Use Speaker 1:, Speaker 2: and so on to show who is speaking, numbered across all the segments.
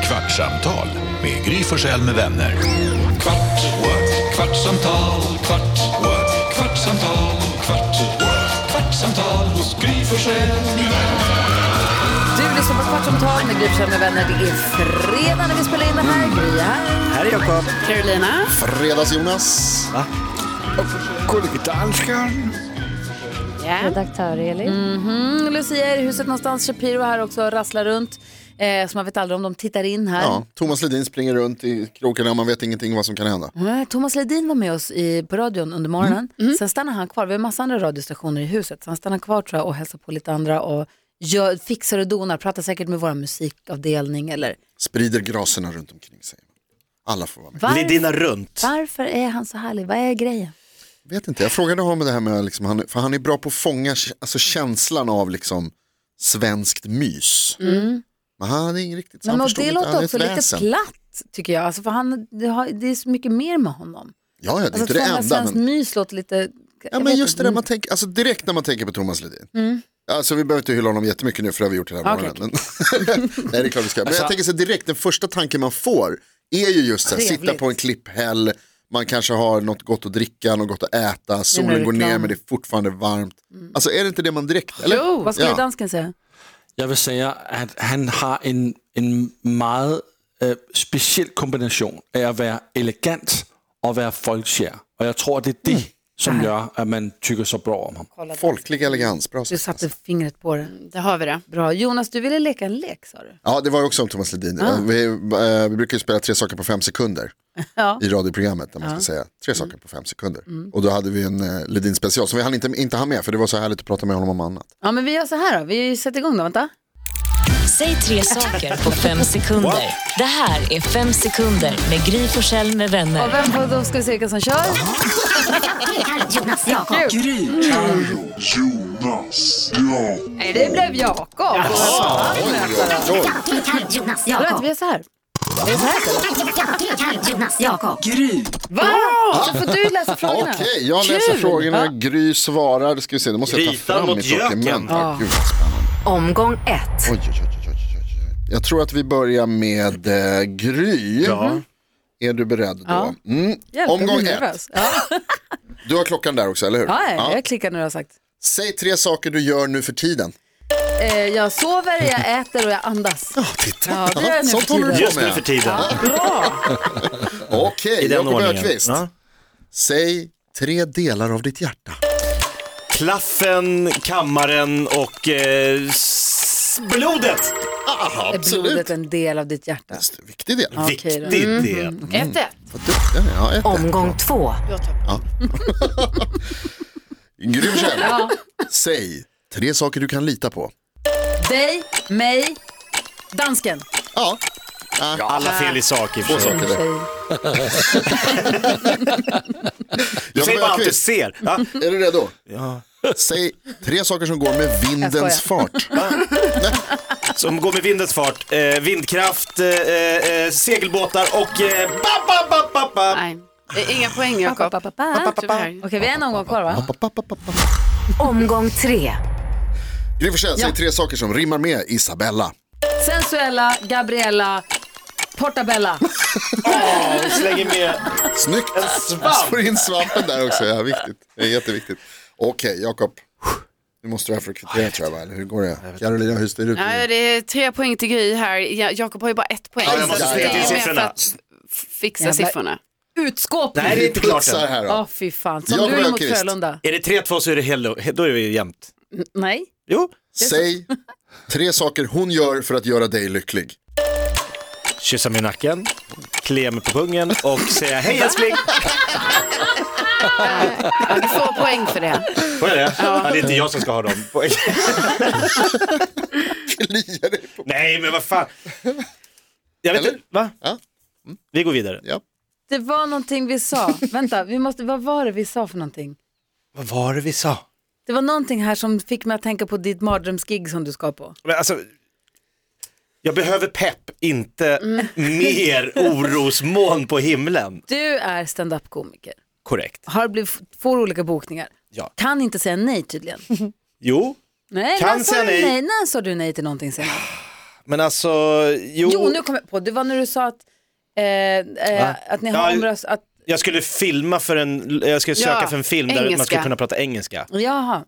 Speaker 1: Kvartsamtal med Gry Forssell med vänner. Kvart, what? kvartsamtal, kvart, what? kvartsamtal, kvart, what? kvartsamtal, Gry Forssell med vänner.
Speaker 2: Du lyssnar på Kvartsamtal med Gry Forssell med vänner. Det är fredag när vi spelar in det här. Gry är här.
Speaker 3: Här är Jakob.
Speaker 2: Carolina.
Speaker 4: Fredags-Jonas.
Speaker 3: Danskan.
Speaker 5: Redaktör Elin.
Speaker 2: Mm, Lucia är i huset någonstans. Shapiro är här också och rasslar runt. Eh, så man vet aldrig om de tittar in här.
Speaker 4: Ja, Thomas Ledin springer runt i krokarna och man vet ingenting vad som kan hända.
Speaker 2: Nej, Eh, Thomas Ledin var med oss i, på radion under morgonen.
Speaker 4: Mm.
Speaker 2: Sen stannade han kvar. Vi har massa andra radiostationer i huset. Så han stannade kvar tror jag, och hälsade på lite andra och gör, fixar och donar. Pratar säkert med vår musikavdelning. Eller.
Speaker 4: Sprider graserna runt omkring sig. Alla får vara med.
Speaker 2: Varför,
Speaker 3: Ledina runt.
Speaker 2: varför är han så härlig? Vad är grejen?
Speaker 4: Vet inte, jag frågade honom det här med, liksom, han, för han är bra på att fånga k- alltså, känslan av liksom, svenskt mys. Men han är inte riktigt,
Speaker 2: Mm. Men
Speaker 4: han
Speaker 2: och
Speaker 4: förstod
Speaker 2: det
Speaker 4: inte, han
Speaker 2: låter
Speaker 4: är
Speaker 2: också
Speaker 4: ett
Speaker 2: lite
Speaker 4: väsen.
Speaker 2: platt tycker jag. Alltså för han, det, har, det är så mycket mer med honom.
Speaker 4: Ja, ja, det är
Speaker 2: Alltså
Speaker 4: inte det
Speaker 2: att fånga
Speaker 4: enda.
Speaker 2: svenskt
Speaker 4: Men,
Speaker 2: mys låter lite...
Speaker 4: ja,
Speaker 2: jag vet
Speaker 4: men just det
Speaker 2: inte. Mm.
Speaker 4: där, man tänker, alltså, direkt när man tänker på Thomas Ledin. Alltså vi behöver inte hylla honom jättemycket nu för det har vi gjort hela
Speaker 2: Okej, Alltså-
Speaker 4: morgonen. Men... Nej det är klart vi ska. Men jag tänker så här, direkt, den första tanken man får är ju just så här,
Speaker 2: Trevligt.
Speaker 4: sitta på en klipphäll, man kanske har något gott att dricka, något gott att äta, solen går ner
Speaker 2: reklam.
Speaker 4: men det är fortfarande varmt. Alltså är det inte det man direkt, eller?
Speaker 2: Mm.
Speaker 6: Oh.
Speaker 2: Jo, vad skulle
Speaker 4: Ja.
Speaker 2: dansken säga?
Speaker 7: Jeg vil sige, at han har en, en meget øh, speciel kombination af at være elegant og være folkskær. Og jeg tror, det er det, som gør, at man tykker så blå om ham.
Speaker 4: Folklig elegans, bra
Speaker 2: Du
Speaker 4: sagt.
Speaker 2: satte fingret på det.
Speaker 6: Det har vi det.
Speaker 2: Bra. Jonas, du ville leka en lek sa du?
Speaker 4: Ja det var ju också om Thomas Ledin,
Speaker 2: Ah.
Speaker 4: vi, eh, vi brukar ju spela tre saker på fem sekunder.
Speaker 2: Ja. Mm.
Speaker 4: i radioprogrammet där man ska säga tre saker på fem sekunder. Och då hade vi en eh, Ledin special som vi hann inte, inte ha med för det var så härligt att prata med honom om annat.
Speaker 2: Ja, men vi gör så här då. Vi sätter igång då, vänta.
Speaker 8: Säg tre saker på fem sekunder. Det här är Fem sekunder med Gry Forssell med vänner.
Speaker 2: Och vem får, då ska vi se vilka som kör. Jakob.
Speaker 9: Jonas, ja.
Speaker 2: Nej, det blev Jakob. Vänta, vi gör så här. Vi gör så här istället. Va? Så får du läsa frågorna.
Speaker 4: Okej, jag läser
Speaker 2: Kul!
Speaker 4: frågorna, Gry svarar, ska vi se, då måste jag ta
Speaker 3: Grytan
Speaker 4: fram
Speaker 3: mot
Speaker 4: mitt
Speaker 3: göken.
Speaker 4: dokument. här. Gud, vad spännande.
Speaker 5: Omgång ett.
Speaker 4: Oj, oj, oj, oj, oj, oj. Jag tror att vi börjar med eh, Gry. Är du beredd då? Mm.
Speaker 2: Hjälp, jag blir
Speaker 4: Omgång ett.
Speaker 2: nervös. Ja,
Speaker 4: Du har klockan där också, eller hur?
Speaker 2: ja, jag klickar när du har sagt.
Speaker 4: Säg tre saker du gör nu för tiden.
Speaker 2: Eh, jag sover, jag äter och jag andas.
Speaker 4: Ja, titta.
Speaker 2: Ja, det gör jag nu
Speaker 4: Sånt
Speaker 2: för
Speaker 4: håller du
Speaker 3: Just
Speaker 4: på
Speaker 3: nu för
Speaker 4: med.
Speaker 3: tiden. I
Speaker 4: Okej,
Speaker 3: den
Speaker 4: Jakob
Speaker 3: ordningen.
Speaker 4: Öqvist.
Speaker 3: Ja.
Speaker 4: Säg tre delar av ditt hjärta.
Speaker 3: Klaffen, kammaren och eh, s- blodet.
Speaker 4: Aha,
Speaker 2: Är blodet en del av ditt hjärta?
Speaker 4: Mest viktig del.
Speaker 2: Okej då.
Speaker 3: Viktigt
Speaker 6: Mm.
Speaker 3: det.
Speaker 2: Mm.
Speaker 6: 1-1.
Speaker 4: Vad duktig ni är. Ja, ett rätt.
Speaker 5: Omgång två.
Speaker 4: Grym Kjell. Säg tre saker du kan lita på.
Speaker 2: Dig, mig, dansken.
Speaker 4: Ja,
Speaker 3: Ja, alla fel i sak i och för
Speaker 4: två
Speaker 3: sig.
Speaker 4: saker där.
Speaker 3: Du säger bara allt du
Speaker 4: Öqvist,
Speaker 3: ser. Ja.
Speaker 4: är du redo? Säg tre saker som går med
Speaker 2: Jag
Speaker 4: vindens fart.
Speaker 3: Som går med vindens fart. Eh, vindkraft, eh, eh, segelbåtar och... Eh, ba, ba, ba, ba, ba.
Speaker 6: Nej. Det är inga poäng Jakob.
Speaker 2: Pa, pa, pa, pa.
Speaker 6: Tyvärr.
Speaker 2: Okej, vi är en omgång kvar va?
Speaker 4: Pa, pa, pa, pa, pa.
Speaker 5: Omgång tre.
Speaker 4: Gry Forssell, säg tre saker som rimmar med Isabella.
Speaker 2: Sensuella, Gabriella, Portabella.
Speaker 3: Och Slänger med...
Speaker 4: Snyggt! Jag får in svampen där också, ja, viktigt. Det är jätteviktigt. Okej, Jakob. Nu måste du här för att kvittera tror jag, va? eller hur går det? Carolina, hur står det ut?
Speaker 6: Nej, det är tre poäng till Gry här. Ja, Jakob har ju bara ett poäng.
Speaker 3: Ja, jag måste
Speaker 6: Så
Speaker 4: snygga
Speaker 6: det är
Speaker 4: till
Speaker 6: mer
Speaker 3: siffrorna.
Speaker 6: för att f- fixa
Speaker 2: Jävlar.
Speaker 6: siffrorna.
Speaker 2: Utskåpning.
Speaker 3: Nej, det är inte klart
Speaker 4: Putsar
Speaker 3: än.
Speaker 4: här
Speaker 2: Ja,
Speaker 4: då.
Speaker 2: fy fan. Som
Speaker 4: Jag
Speaker 2: Luleå mot
Speaker 4: Öqvist.
Speaker 2: Frölunda.
Speaker 3: Är det 3-2 så är det hello. Då är vi jämnt.
Speaker 2: Nej.
Speaker 3: Jo.
Speaker 4: Säg tre saker hon gör för att göra dig lycklig.
Speaker 3: Kyssa mig i nacken, klia mig på pungen och säga hej älskling.
Speaker 6: Ja, du får poäng för det.
Speaker 3: Får jag det? Ja. Det är inte jag som ska ha dem.
Speaker 4: Kliar dig på
Speaker 3: Nej men vad fan. Jag vet
Speaker 4: Eller?
Speaker 3: inte, va? Mm.
Speaker 4: Ja.
Speaker 3: Vi går vidare.
Speaker 2: Det var någonting vi sa. Vänta, vi måste, vad var det vi sa för någonting?
Speaker 3: Vad var det vi sa?
Speaker 2: Det var någonting här som fick mig att tänka på ditt mardrömsgig som du ska på.
Speaker 3: Men alltså, jag behöver pepp, inte
Speaker 6: Mm.
Speaker 3: mer orosmoln på himlen.
Speaker 2: Du är stand-up-komiker.
Speaker 3: Korrekt.
Speaker 2: Har blivit, får olika bokningar.
Speaker 3: Ja.
Speaker 2: Kan inte säga nej tydligen.
Speaker 3: Jo,
Speaker 2: Nej,
Speaker 3: Kan
Speaker 2: när sa
Speaker 3: säga
Speaker 2: du
Speaker 3: nej.
Speaker 2: nej. När sa du nej till någonting senast?
Speaker 3: Men alltså, jo.
Speaker 2: Jo, nu kom jag på, det var när du sa att, eh,
Speaker 3: Va?
Speaker 2: eh, att ni har
Speaker 3: Ja,
Speaker 2: omröst, att,
Speaker 3: Jag skulle filma för en, jag skulle söka
Speaker 6: Ja,
Speaker 3: för en film där man
Speaker 6: engelska.
Speaker 3: skulle kunna prata engelska.
Speaker 2: jaha,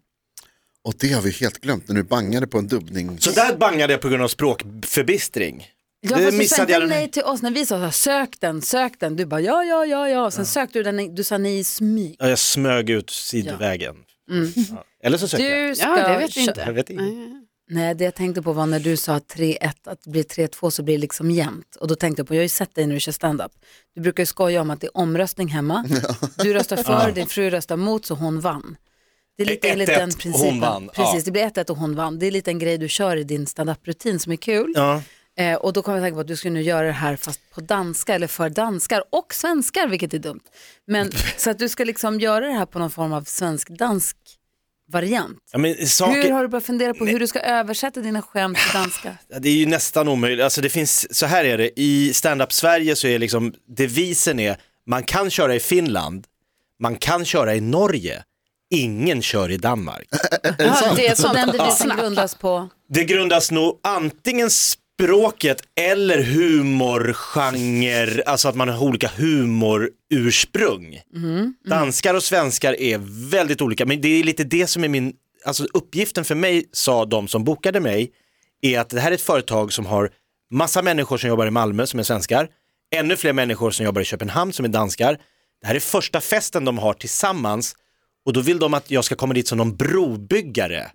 Speaker 4: Och det har vi helt glömt när du bangade på en dubbning.
Speaker 3: Så där bangade jag på grund av språkförbistring.
Speaker 2: Ja,
Speaker 3: Det
Speaker 2: fast du sa
Speaker 3: missade
Speaker 2: inte
Speaker 3: jag den-
Speaker 2: nej till oss när vi sa så här, sök den, sök den. Du bara ja, ja, ja, ja. Sen sökte du den, i- du sa nej i smyg.
Speaker 3: Ja, jag smög ut sidovägen. Ja. Eller så sökte jag.
Speaker 2: Mm. Du ska
Speaker 6: Ja, det vet jag
Speaker 2: kö-
Speaker 3: Jag
Speaker 6: inte.
Speaker 3: vet inte.
Speaker 2: Nej, det jag tänkte på var när du sa 3-1, att det blir 3-2 så blir det liksom jämnt. Och då tänkte jag på, jag har ju sett dig när du kör stand-up. Du brukar ju skoja om att det är omröstning hemma. Du röstar för, din fru röstar mot, så hon vann. Det är lite enligt
Speaker 3: 1-1,
Speaker 2: den
Speaker 3: hon
Speaker 2: principen.
Speaker 3: vann, ja.
Speaker 2: Precis, det blir 1-1 och hon vann. Det är lite en grej du kör i din stand-up-rutin som är kul.
Speaker 3: Ja.
Speaker 2: Eh, och då kom jag att tänka på att du skulle nu göra det här fast på danska eller för danskar och svenskar, vilket är dumt. Men så att du ska liksom göra det här på någon form av svensk-dansk variant.
Speaker 3: Ja, men saker,
Speaker 2: Hur har du börjat fundera på hur du ska översätta dina skämt till danska?
Speaker 3: Ja, Det är ju nästan omöjligt. Alltså det finns, så här är det, i stand-up Sverige så är liksom devisen är man kan köra i Finland, man kan köra i Norge, ingen kör i Danmark.
Speaker 6: Ja, det är sånt.
Speaker 2: Den devisen grundas på,
Speaker 3: Det grundas nog antingen språket eller humorgenre, alltså att man har olika humorursprung. Danskar och svenskar är väldigt olika, men det är lite det som är min, alltså uppgiften för mig, sa de som bokade mig, är att det här är ett företag som har massa människor som jobbar i Malmö som är svenskar, ännu fler människor som jobbar i Köpenhamn som är danskar. Det här är första festen de har tillsammans och då vill de att jag ska komma dit som någon brobyggare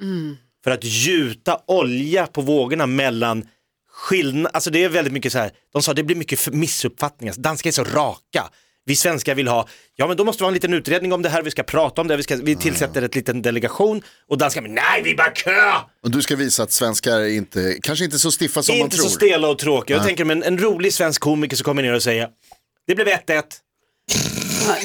Speaker 3: för att gjuta olja på vågorna mellan skillnad, alltså det är väldigt mycket så här, de sa det blir mycket för- missuppfattningar, danskar är så raka. Vi svenskar vill ha, ja men då måste vi ha en liten utredning om det här, vi ska prata om det, vi, ska,
Speaker 4: Ah,
Speaker 3: vi tillsätter ett liten delegation och danskar, men nej vi bara kö!
Speaker 4: Och du ska visa att svenskar är inte, kanske inte så stiffa som man
Speaker 3: Inte
Speaker 4: tror.
Speaker 3: så stela och tråkiga, jag tänker mig en, en rolig svensk komiker som kommer ner och säger, det blev 1-1.
Speaker 6: Ja,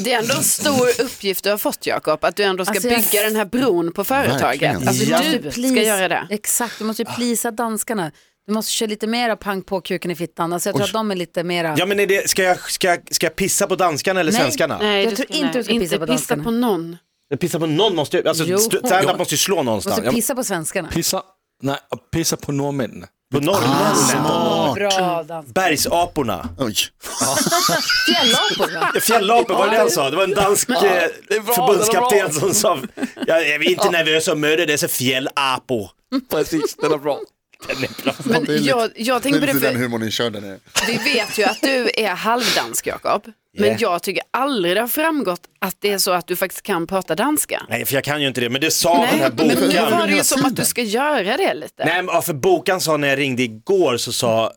Speaker 6: Det är ändå en stor uppgift du har fått Jakob, att du ändå ska
Speaker 2: Alltså, jag-
Speaker 6: bygga den här bron på företaget.
Speaker 4: Verkligen.
Speaker 6: Alltså,
Speaker 3: Ja.
Speaker 6: Du ska göra det.
Speaker 2: Exakt, du måste ju plisa danskarna. Du måste köra lite mera pang på kuken i fittan. Alltså jag tror att de är lite mera...
Speaker 3: Ja men är det, ska, jag, ska, jag- ska jag pissa på danskarna eller
Speaker 2: Nej.
Speaker 3: svenskarna?
Speaker 2: Jag
Speaker 6: du
Speaker 2: tror inte du ska pissa på
Speaker 6: pissa
Speaker 2: danskarna.
Speaker 6: på någon.
Speaker 3: Jag Pissa på någon måste ju, alltså
Speaker 2: Jo.
Speaker 3: st- stand-up måste ju slå någonstans.
Speaker 2: måste pissa på svenskarna.
Speaker 7: Pisser, nej, och pisser på norrmännen.
Speaker 3: Ja, på
Speaker 2: Ah,
Speaker 3: norrmännen,
Speaker 2: Bra dans.
Speaker 3: bergsaporna.
Speaker 4: Oj.
Speaker 2: Fjällapor va?
Speaker 3: Fjällapor, var det det han sa? Det var en dansk eh, förbundskapten som sa, jag jag är inte nervös att möta dessa fjällapor.
Speaker 7: Precis, den är bra.
Speaker 4: det är
Speaker 6: Men
Speaker 4: lite-
Speaker 6: jag, jag
Speaker 4: Det är
Speaker 6: tänker på det,
Speaker 4: lite den
Speaker 6: för
Speaker 4: humorn ni kör där nere.
Speaker 6: vi vet ju att du är halvdansk Jakob. Men
Speaker 3: Yeah.
Speaker 6: jag tycker aldrig det har framgått att det är så att du faktiskt kan prata danska.
Speaker 3: Nej, för jag kan ju inte det, men det sa den här
Speaker 6: Nej, men nu
Speaker 3: bokan.
Speaker 6: var det
Speaker 4: Hela
Speaker 6: ju som att du
Speaker 4: tiden.
Speaker 6: ska göra det lite.
Speaker 3: Nej, men ja, för bokan sa när jag ringde igår så sa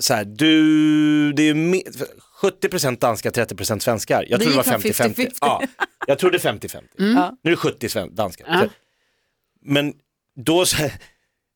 Speaker 3: så här, du, det är ju mi- 70% danska, 30% svenskar. Jag
Speaker 2: Det
Speaker 3: trodde det var
Speaker 2: gick från Mm.
Speaker 3: 50-50.
Speaker 2: 50-50.
Speaker 3: Ja, jag trodde 50-50. Nu är det 70 sven- danska.
Speaker 6: Ja.
Speaker 3: Men då, så här,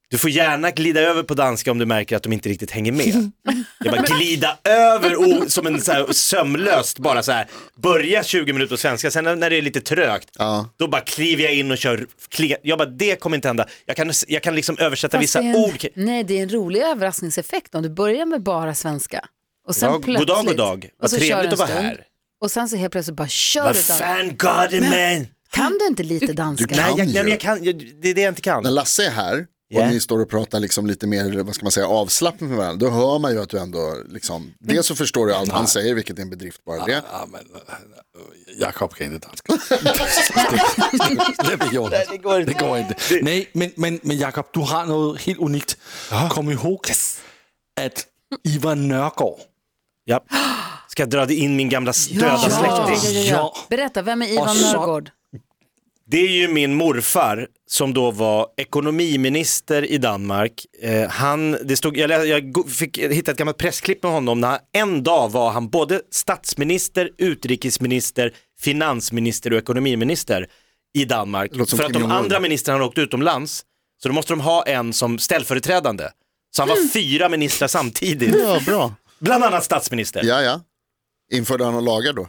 Speaker 3: du får gärna glida över på danska om du märker att de inte riktigt hänger med. Jag bara glida över och, som en så här, sömlöst bara så här, börja 20 minuter på svenska, sen när det är lite trögt,
Speaker 4: Ja.
Speaker 3: då bara kliver jag in och kör, kli- jag bara det kommer inte hända. Jag kan, jag kan liksom översätta
Speaker 2: Fast
Speaker 3: vissa
Speaker 2: det är en-
Speaker 3: ord.
Speaker 2: Nej, det är en rolig överraskningseffekt om du börjar med bara svenska. Och sen
Speaker 3: Ja,
Speaker 2: plötsligt.
Speaker 3: god dag, god dag.
Speaker 2: och
Speaker 3: Vad
Speaker 2: så kör
Speaker 3: trevligt
Speaker 2: en
Speaker 3: att vara
Speaker 2: stund.
Speaker 3: här.
Speaker 2: Och sen så helt plötsligt bara kör
Speaker 3: Vad
Speaker 2: du danska.
Speaker 3: fan god man! Nej,
Speaker 2: Kan du inte lite danska?
Speaker 4: kan-
Speaker 3: jag, nej,
Speaker 4: ju.
Speaker 3: men jag kan, jag, det är det jag inte
Speaker 4: När
Speaker 3: kan.
Speaker 4: Lasse är här och
Speaker 3: Ja.
Speaker 4: ni står och pratar liksom lite mer, vad ska man säga, avslappnat med varandra, då hör man ju att du ändå, liksom, dels så förstår du allt han säger, vilket är en bedrift bara det.
Speaker 7: Ja, Ah, men, eh, Jakob kan inte danska. det, gjorde det, går inte. det går inte. Nej, men, men, men Jakob, du har något helt unikt. Kom ihåg att Ivar Nørgaard,
Speaker 3: Ja. Ska jag dra in min gamla döda
Speaker 2: Ja,
Speaker 3: släkting?
Speaker 2: ja, ja, ja.
Speaker 7: Ja.
Speaker 2: Berätta, vem är
Speaker 7: Och
Speaker 2: Ivan
Speaker 7: så-
Speaker 2: Nörgård?
Speaker 3: Det är ju min morfar som då var ekonomiminister i Danmark. Eh, han, det stod, jag, lä- jag go- fick hitta ett gammalt pressklipp med honom när han, en dag var han både statsminister, utrikesminister, finansminister och ekonomiminister i Danmark.
Speaker 4: Låter som
Speaker 3: För att
Speaker 4: Kim
Speaker 3: de
Speaker 4: Jong-Un.
Speaker 3: andra ministrarna åkte utomlands så då måste de ha en som ställföreträdande. Så han var
Speaker 2: Mm.
Speaker 3: fyra ministrar samtidigt,
Speaker 4: Ja, bra.
Speaker 3: bland annat statsminister.
Speaker 4: Ja, ja. Införde han några lagar då?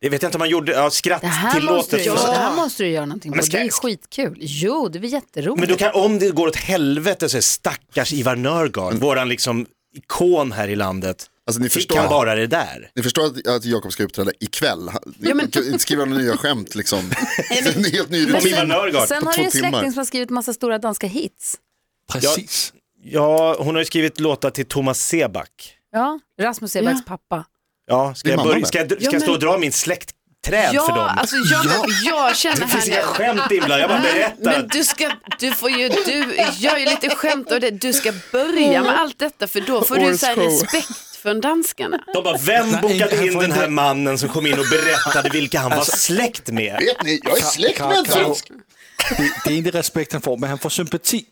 Speaker 3: Det vet jag inte om han gjorde, ja, skratt
Speaker 2: Det här, måste
Speaker 3: tillåtet.
Speaker 2: du, det här måste du göra någonting på.
Speaker 3: Men ska-
Speaker 2: Det är skitkul. Jo, det blir jätteroligt.
Speaker 3: Men då kan, om det går åt helvete så är stackars Ivar Nörgaard, våran liksom ikon här i landet,
Speaker 4: Alltså, ni
Speaker 3: fick
Speaker 4: förstår.
Speaker 3: han bara det där.
Speaker 4: Ni förstår att, att Jakob ska uppträda ikväll. Han- Inte skriva några nya skämt liksom. En helt ny
Speaker 3: Om
Speaker 4: rutin.
Speaker 3: Ivar Nörgaard.
Speaker 2: Sen
Speaker 4: på
Speaker 2: har
Speaker 4: två
Speaker 2: du ju släkting
Speaker 4: timmar.
Speaker 2: som har skrivit massa stora danska hits.
Speaker 7: precis.
Speaker 3: Ja, hon har ju skrivit låtar till Thomas Seback.
Speaker 2: Ja, Rasmus Ebacks pappa.
Speaker 3: Ja, ska
Speaker 4: Din
Speaker 3: jag,
Speaker 4: mamma
Speaker 3: börja,
Speaker 4: med.
Speaker 3: ska jag, ska
Speaker 6: Ja,
Speaker 3: jag stå
Speaker 6: men-
Speaker 3: och dra min släktträd för
Speaker 6: Ja,
Speaker 3: dem?
Speaker 6: alltså jag, jag känner
Speaker 3: det finns
Speaker 6: här
Speaker 3: inga skämt inblandade, jag bara berättar.
Speaker 6: Men du ska, du får ju, du gör ju lite skämt av det, du ska börja med allt detta för då får du så här
Speaker 4: Årets show.
Speaker 6: respekt från danskarna.
Speaker 3: De bara, vem
Speaker 7: Nej, jag
Speaker 3: bokade
Speaker 7: får
Speaker 3: in den här
Speaker 7: inte- Alltså-
Speaker 3: mannen som kom in och berättade vilka han var släkt med?
Speaker 4: Vet ni, jag är släkt med en
Speaker 7: Karo-
Speaker 4: dansk.
Speaker 7: Det, det är inte respekt han får, men han får sympati.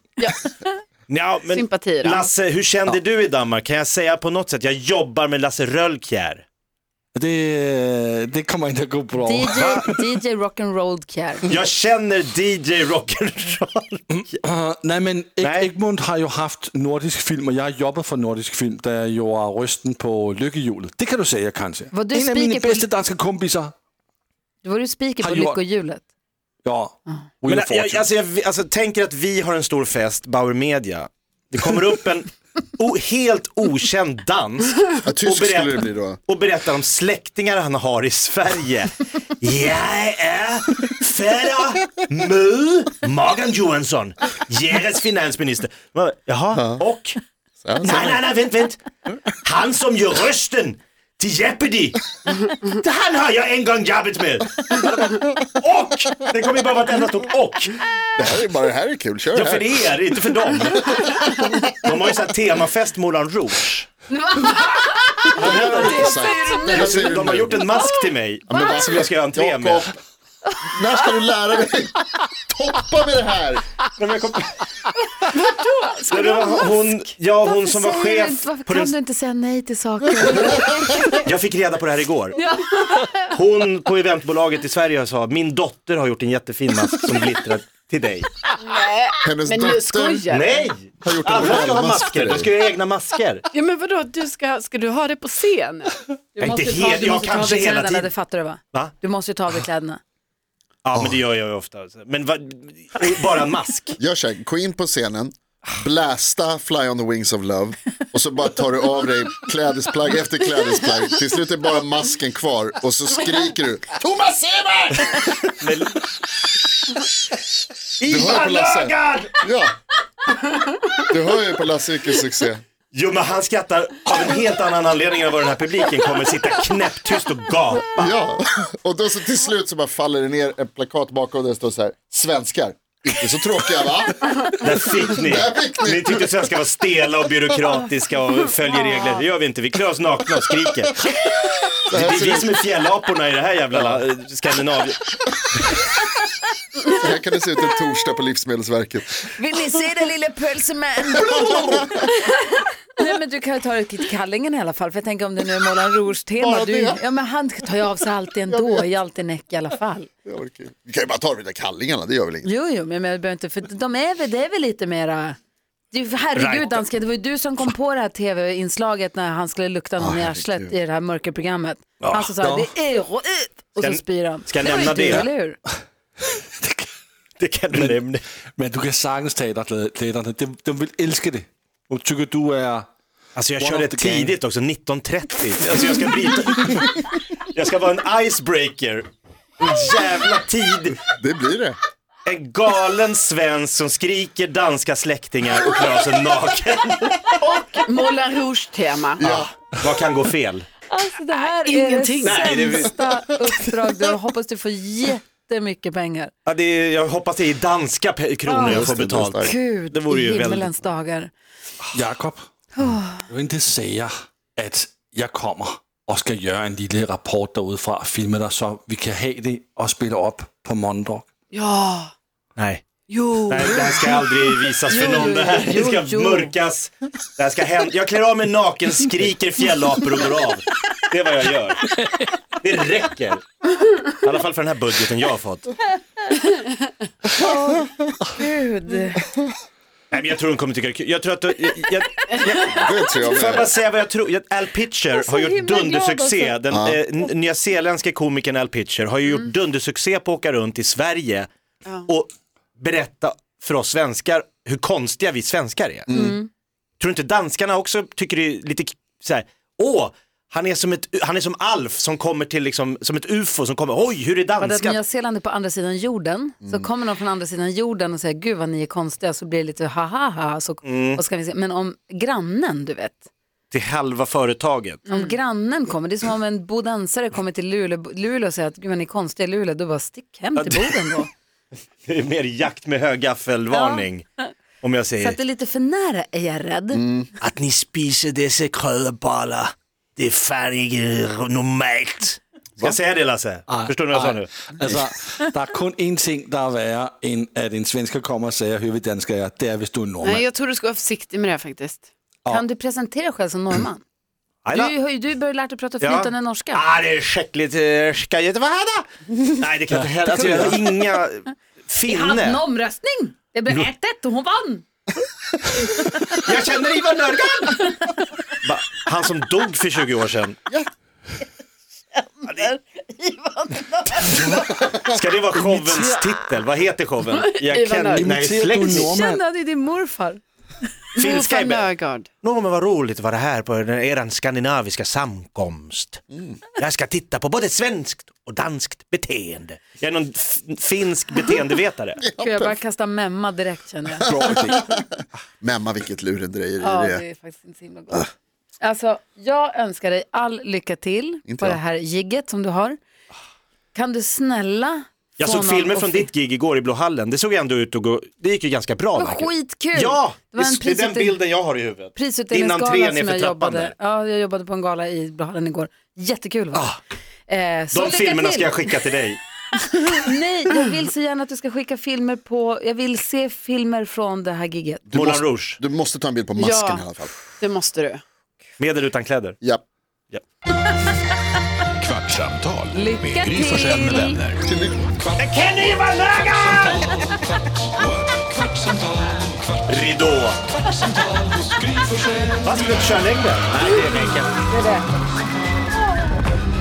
Speaker 3: Ja, men
Speaker 6: Sympati då.
Speaker 3: Lasse, hur kände
Speaker 7: Ja.
Speaker 3: du i Danmark? Kan jag säga på något sätt, jag jobbar med Lasse Rölkjär.
Speaker 7: Det, øh, det kommer inte att gå bra.
Speaker 2: DJ, DJ Rock'n'Roll Care.
Speaker 3: Jag känner DJ Rock'n'Roll.
Speaker 7: Uh, nej, men Ek-
Speaker 3: Nej.
Speaker 7: Egmont har ju haft nordisk film och jag har jobbat för nordisk film där jag gjorde rösten på Lyckehjulet. Det kan du säga kanske.
Speaker 2: Var du
Speaker 7: en av mina
Speaker 2: speaker på-
Speaker 7: bästa danska kompisar.
Speaker 2: Du var ju speaker på
Speaker 7: Har du gjort-
Speaker 2: Lyckohjulet. Ah.
Speaker 7: Ja, Wheel
Speaker 3: Men
Speaker 7: of
Speaker 3: jag,
Speaker 7: Fortune.
Speaker 3: alltså, jag alltså, tänker att vi har en stor fest, Bauer Media. Det kommer upp en o, helt okänd dansk
Speaker 4: Ja, tysk
Speaker 3: Och berätta.
Speaker 4: skulle det bli då.
Speaker 3: och berättar om släktingar han har i Sverige. Jag är Ferra Mu Morgan Johansson, Jeres finansminister. Man bara, Jaha, och?
Speaker 4: Så här, så
Speaker 3: Nej, nej, nej, vänt, vänt. Han som gör rösten till Jeopardy, han har jag en gång jobbat med. Och! Det kommer ju bara vara ett enda stort och.
Speaker 4: Det här är bara det här är kul, kör det
Speaker 3: Ja, för
Speaker 4: här.
Speaker 3: er, inte för dem. De har ju så här temafest Moulin Rouge.
Speaker 4: Det här har du inte sagt. Det här säger du
Speaker 3: De har
Speaker 4: nu.
Speaker 3: gjort en mask till mig som jag ska göra entré med.
Speaker 4: Jakob, När ska du lära dig? Toppa med det här!
Speaker 3: Nej, men jag kom... Nej, det var hon, ja, hon som var
Speaker 2: Varför säger du
Speaker 3: chef
Speaker 2: inte- Varför
Speaker 3: på
Speaker 2: kan
Speaker 3: den...
Speaker 2: du inte säga nej till saker?
Speaker 3: Jag fick reda på det här igår. Hon på eventbolaget i Sverige sa, min dotter har gjort en jättefin mask som glittrar till dig.
Speaker 4: Hennes
Speaker 6: Men nu
Speaker 4: dotter
Speaker 6: skojar du.
Speaker 3: Nej!
Speaker 4: har gjort en
Speaker 3: Alla ska ha
Speaker 4: valmask
Speaker 3: masker,
Speaker 4: till
Speaker 3: de ska
Speaker 4: dig.
Speaker 3: göra egna masker.
Speaker 6: Ja men vadå, du ska, ska du ha det på scen?
Speaker 3: Jag inte helt, jag kanske hela
Speaker 2: kläderna,
Speaker 3: tiden.
Speaker 2: det fattar du va?
Speaker 3: Va?
Speaker 2: Du måste ju ta av dig kläderna.
Speaker 3: Ja men det gör jag ju ofta. Men vad- bara en mask.
Speaker 4: Gör så här, gå in på scenen, blästa Fly on the wings of love och så bara tar du av dig klädesplagg efter klädesplagg. Till slut är bara masken kvar och så skriker du Thomas Seber!
Speaker 3: Men...
Speaker 4: Du hör på
Speaker 3: Ivan
Speaker 4: Lasse.
Speaker 3: Löfgren!
Speaker 4: Ja. Du hör ju på Lasse vilken succé.
Speaker 3: Jo men han skrattar av en helt annan anledning än vad den här publiken kommer sitta knäpptyst och gapa.
Speaker 4: Ja, och då så till slut så bara faller det ner ett plakat bakom där det står så här, svenskar, inte så tråkiga va?
Speaker 3: Där fick ni.
Speaker 4: Där fick ni.
Speaker 3: Ni tyckte svenskar var stela och byråkratiska och följer regler. Det gör vi inte. Vi klär oss nakna och skriker. Det
Speaker 4: här
Speaker 3: är
Speaker 4: ser
Speaker 3: vi
Speaker 4: ut-
Speaker 3: som är fjällaporna i det här jävla eh, Skandinavien.
Speaker 4: Så här kan det se ut en torsdag på Livsmedelsverket.
Speaker 2: Vill ni se den lille pölseman? Nej men du kan ju ta dig till kallingen i alla fall. För jag tänker om det nu är Moulin Rouge-tema.
Speaker 4: Bara
Speaker 2: Du,
Speaker 4: det.
Speaker 2: ja men han tar ju av sig alltid ändå i Altenäck i alla fall.
Speaker 4: Det var kul. Vi kan ju bara ta de där kallingarna, det gör väl inget.
Speaker 2: Jo jo men jag behöver inte, för de är väl, det är väl lite mera. Det är ju- herregud
Speaker 3: Right.
Speaker 2: dansken, det var ju du som kom på det här tv-inslaget när han skulle lukta någon i arslet i det här mörkerprogrammet. Han som sa
Speaker 7: Ja.
Speaker 2: det är rått och så
Speaker 3: Ska-
Speaker 2: spyr han.
Speaker 3: ska jag
Speaker 2: Det var ju
Speaker 3: nämna
Speaker 2: du,
Speaker 3: det?
Speaker 2: eller hur?
Speaker 3: Det kan du nämna.
Speaker 7: Men du kan sagtens teaterkläderna. De, de vill älska det. Och tycker du är...
Speaker 3: Alltså jag
Speaker 7: One
Speaker 3: körde
Speaker 7: of the gang.
Speaker 3: tidigt också, 19.30. Alltså jag ska bryta. Jag ska vara en icebreaker. En jävla tid.
Speaker 4: Det blir det.
Speaker 3: En galen svensk som skriker danska släktingar och klär sig naken.
Speaker 6: Moulin Rouge-tema.
Speaker 3: Vad kan gå fel?
Speaker 2: Alltså det här
Speaker 6: ingenting.
Speaker 2: är
Speaker 3: Nej, det
Speaker 2: det
Speaker 3: är vi-
Speaker 2: sämsta uppdrag du har. Hoppas du får jättemycket pengar.
Speaker 3: Ja, det är, jag hoppas det är i danska pe- kronor jag
Speaker 4: Just
Speaker 3: får
Speaker 4: det, det är
Speaker 3: betalt.
Speaker 4: starkt.
Speaker 2: Gud,
Speaker 3: Det vore ju
Speaker 2: i
Speaker 3: väldigt-
Speaker 2: himmelens dagar.
Speaker 7: Jakob, du vill inte säga att jag kommer och ska göra en liten rapport därudifrån och filma dig så vi kan ha det och spela upp på måndag.
Speaker 6: Ja,
Speaker 3: Nej.
Speaker 6: jo.
Speaker 3: Nej, det här ska aldrig visas för någon. Det här
Speaker 2: jo,
Speaker 3: ska
Speaker 2: jo.
Speaker 3: mörkas. Det här ska hända. Jag klär av mig naken, skriker fjällapor och går av. Det är vad jag gör. Det räcker. I alla fall för den här budgeten jag har fått.
Speaker 2: Gud.
Speaker 3: Nej, men jag tror de kommer tycka det är kul. Jag tror att... Jag, jag,
Speaker 4: Det tror jag
Speaker 3: får jag bara
Speaker 4: med.
Speaker 3: säga vad jag tror? Jag- Al Pitcher har gjort
Speaker 2: himla glad alltså.
Speaker 3: dundersuccé.
Speaker 2: Mm.
Speaker 3: Den
Speaker 4: Ja.
Speaker 3: eh, n- nyzeeländske komikern Al Pitcher har ju gjort dundersuccé på att åka runt i Sverige och berätta för oss svenskar hur konstiga
Speaker 2: Mm.
Speaker 3: vi svenskar är. Tror du inte danskarna också tycker det är lite k- så här, åh, Han är som, ett, han är som Alf som kommer till liksom, som ett ufo som kommer, oj hur är
Speaker 2: För att
Speaker 3: danskan?
Speaker 2: Nya Zeeland är på andra sidan jorden, så kommer någon från andra sidan jorden och säger gud vad ni är konstiga, så blir det lite ha ha ha. Så, och ska vi se. Men om grannen, du vet,
Speaker 3: Till halva företaget.
Speaker 2: om grannen kommer, det är som om en bodensare kommer till Luleå, Luleå och säger att gud vad ni är konstiga i Luleå, då bara stick hem till Boden då.
Speaker 3: Det är mer jakt med högaffelvarning. Om jag
Speaker 2: Så att
Speaker 3: säger
Speaker 2: det är lite för nära är jag rädd.
Speaker 3: att ni spiser dessa krödballar, det är fan inte normalt. Ska jag säga det Lasse? Förstår du vad jag sa nu?
Speaker 7: Altså, der er kun én ting, der er værre, end at en svensker kommer og siger, hør vi dansker er. Det er, hvis du er en nordmand.
Speaker 6: Nej, jag tror du ska vara försiktig med det här faktiskt.
Speaker 2: Kan du presentera dig själv som norrman?
Speaker 3: Aj
Speaker 2: Du
Speaker 3: då.
Speaker 2: har ju- har ju du börjat lära dig prata
Speaker 3: Mm. Ja.
Speaker 2: flytande norska.
Speaker 3: Ah, det är schäckligt eh, skajigt. Vad är det? Nej, det kan jag inte heller. Alltså, jag har inga finne.
Speaker 2: omröstning! Det blev 1-1 och hon vann!
Speaker 3: Jag känner Ivar Lörgan! Va, Han som dog för 20 år sedan. Ska det vara showens titel? Vad heter showen? Jag
Speaker 6: Ivar
Speaker 3: kan...
Speaker 6: Lörgan.
Speaker 3: Nej,
Speaker 7: Imiterar du
Speaker 3: släkt.
Speaker 7: nordmand?
Speaker 2: Kände han ju din morfar?
Speaker 3: Finska är
Speaker 6: Morfar
Speaker 3: bäst.
Speaker 6: Nörgaard.
Speaker 3: Nå men vad roligt att vara här på den- eran skandinaviska samkomst.
Speaker 2: Mm.
Speaker 3: Jag ska titta på både svenskt och danskt beteende. Jag är någon f- finsk beteendevetare.
Speaker 2: Gud, jag bara kastar memma direkt känner jag.
Speaker 7: Bra idé.
Speaker 4: Memma vilket lurendrejeri
Speaker 2: Ja,
Speaker 4: det Ah.
Speaker 2: det
Speaker 4: är.
Speaker 2: är faktiskt inte så himla gott. Alltså, jag önskar dig all lycka till
Speaker 4: Inte
Speaker 2: på det
Speaker 4: jag.
Speaker 2: här jigget som du har. Kan du snälla
Speaker 3: Jag
Speaker 2: få
Speaker 3: såg
Speaker 2: någon
Speaker 3: filmer
Speaker 2: att
Speaker 3: från
Speaker 2: fi-
Speaker 3: ditt gig igår i Blå hallen. Det såg ändå ut att gå, det gick ju ganska bra.
Speaker 2: Det var
Speaker 3: verkligen.
Speaker 2: skitkul!
Speaker 3: Ja,
Speaker 2: det var en
Speaker 3: det är den
Speaker 2: prisutdel-
Speaker 3: bilden jag har i huvudet.
Speaker 2: prisutdelningsgala
Speaker 3: Din entré
Speaker 2: som
Speaker 3: nerför
Speaker 2: jag
Speaker 3: trappan
Speaker 2: jobbade.
Speaker 3: där. Ah,
Speaker 2: Ja, jag jobbade på en gala i Blahallen igår. Jättekul va? Eh, så
Speaker 3: De
Speaker 2: lycka
Speaker 3: filmerna
Speaker 2: till.
Speaker 3: ska jag skicka till dig.
Speaker 2: Nej, jag vill så gärna att du ska skicka filmer på, jag vill se filmer från det här giget.
Speaker 3: Moulin
Speaker 4: måste-
Speaker 3: Rouge,
Speaker 4: Du måste ta en bild på masken
Speaker 6: Ja.
Speaker 4: i alla fall.
Speaker 6: Det måste du.
Speaker 3: med eller utan kläder.
Speaker 4: Ja.
Speaker 1: Kvartsamtal
Speaker 2: Lycka
Speaker 1: med Gry Forssell med
Speaker 2: till!
Speaker 1: vänner. Kvart,
Speaker 3: Kenny Valöga!
Speaker 1: kvartsamtal, kvart,
Speaker 3: Ridå.
Speaker 1: kvartsamtal hos Gry Forssell.
Speaker 3: Vad skulle du köra längre? Nej, det är enkelt.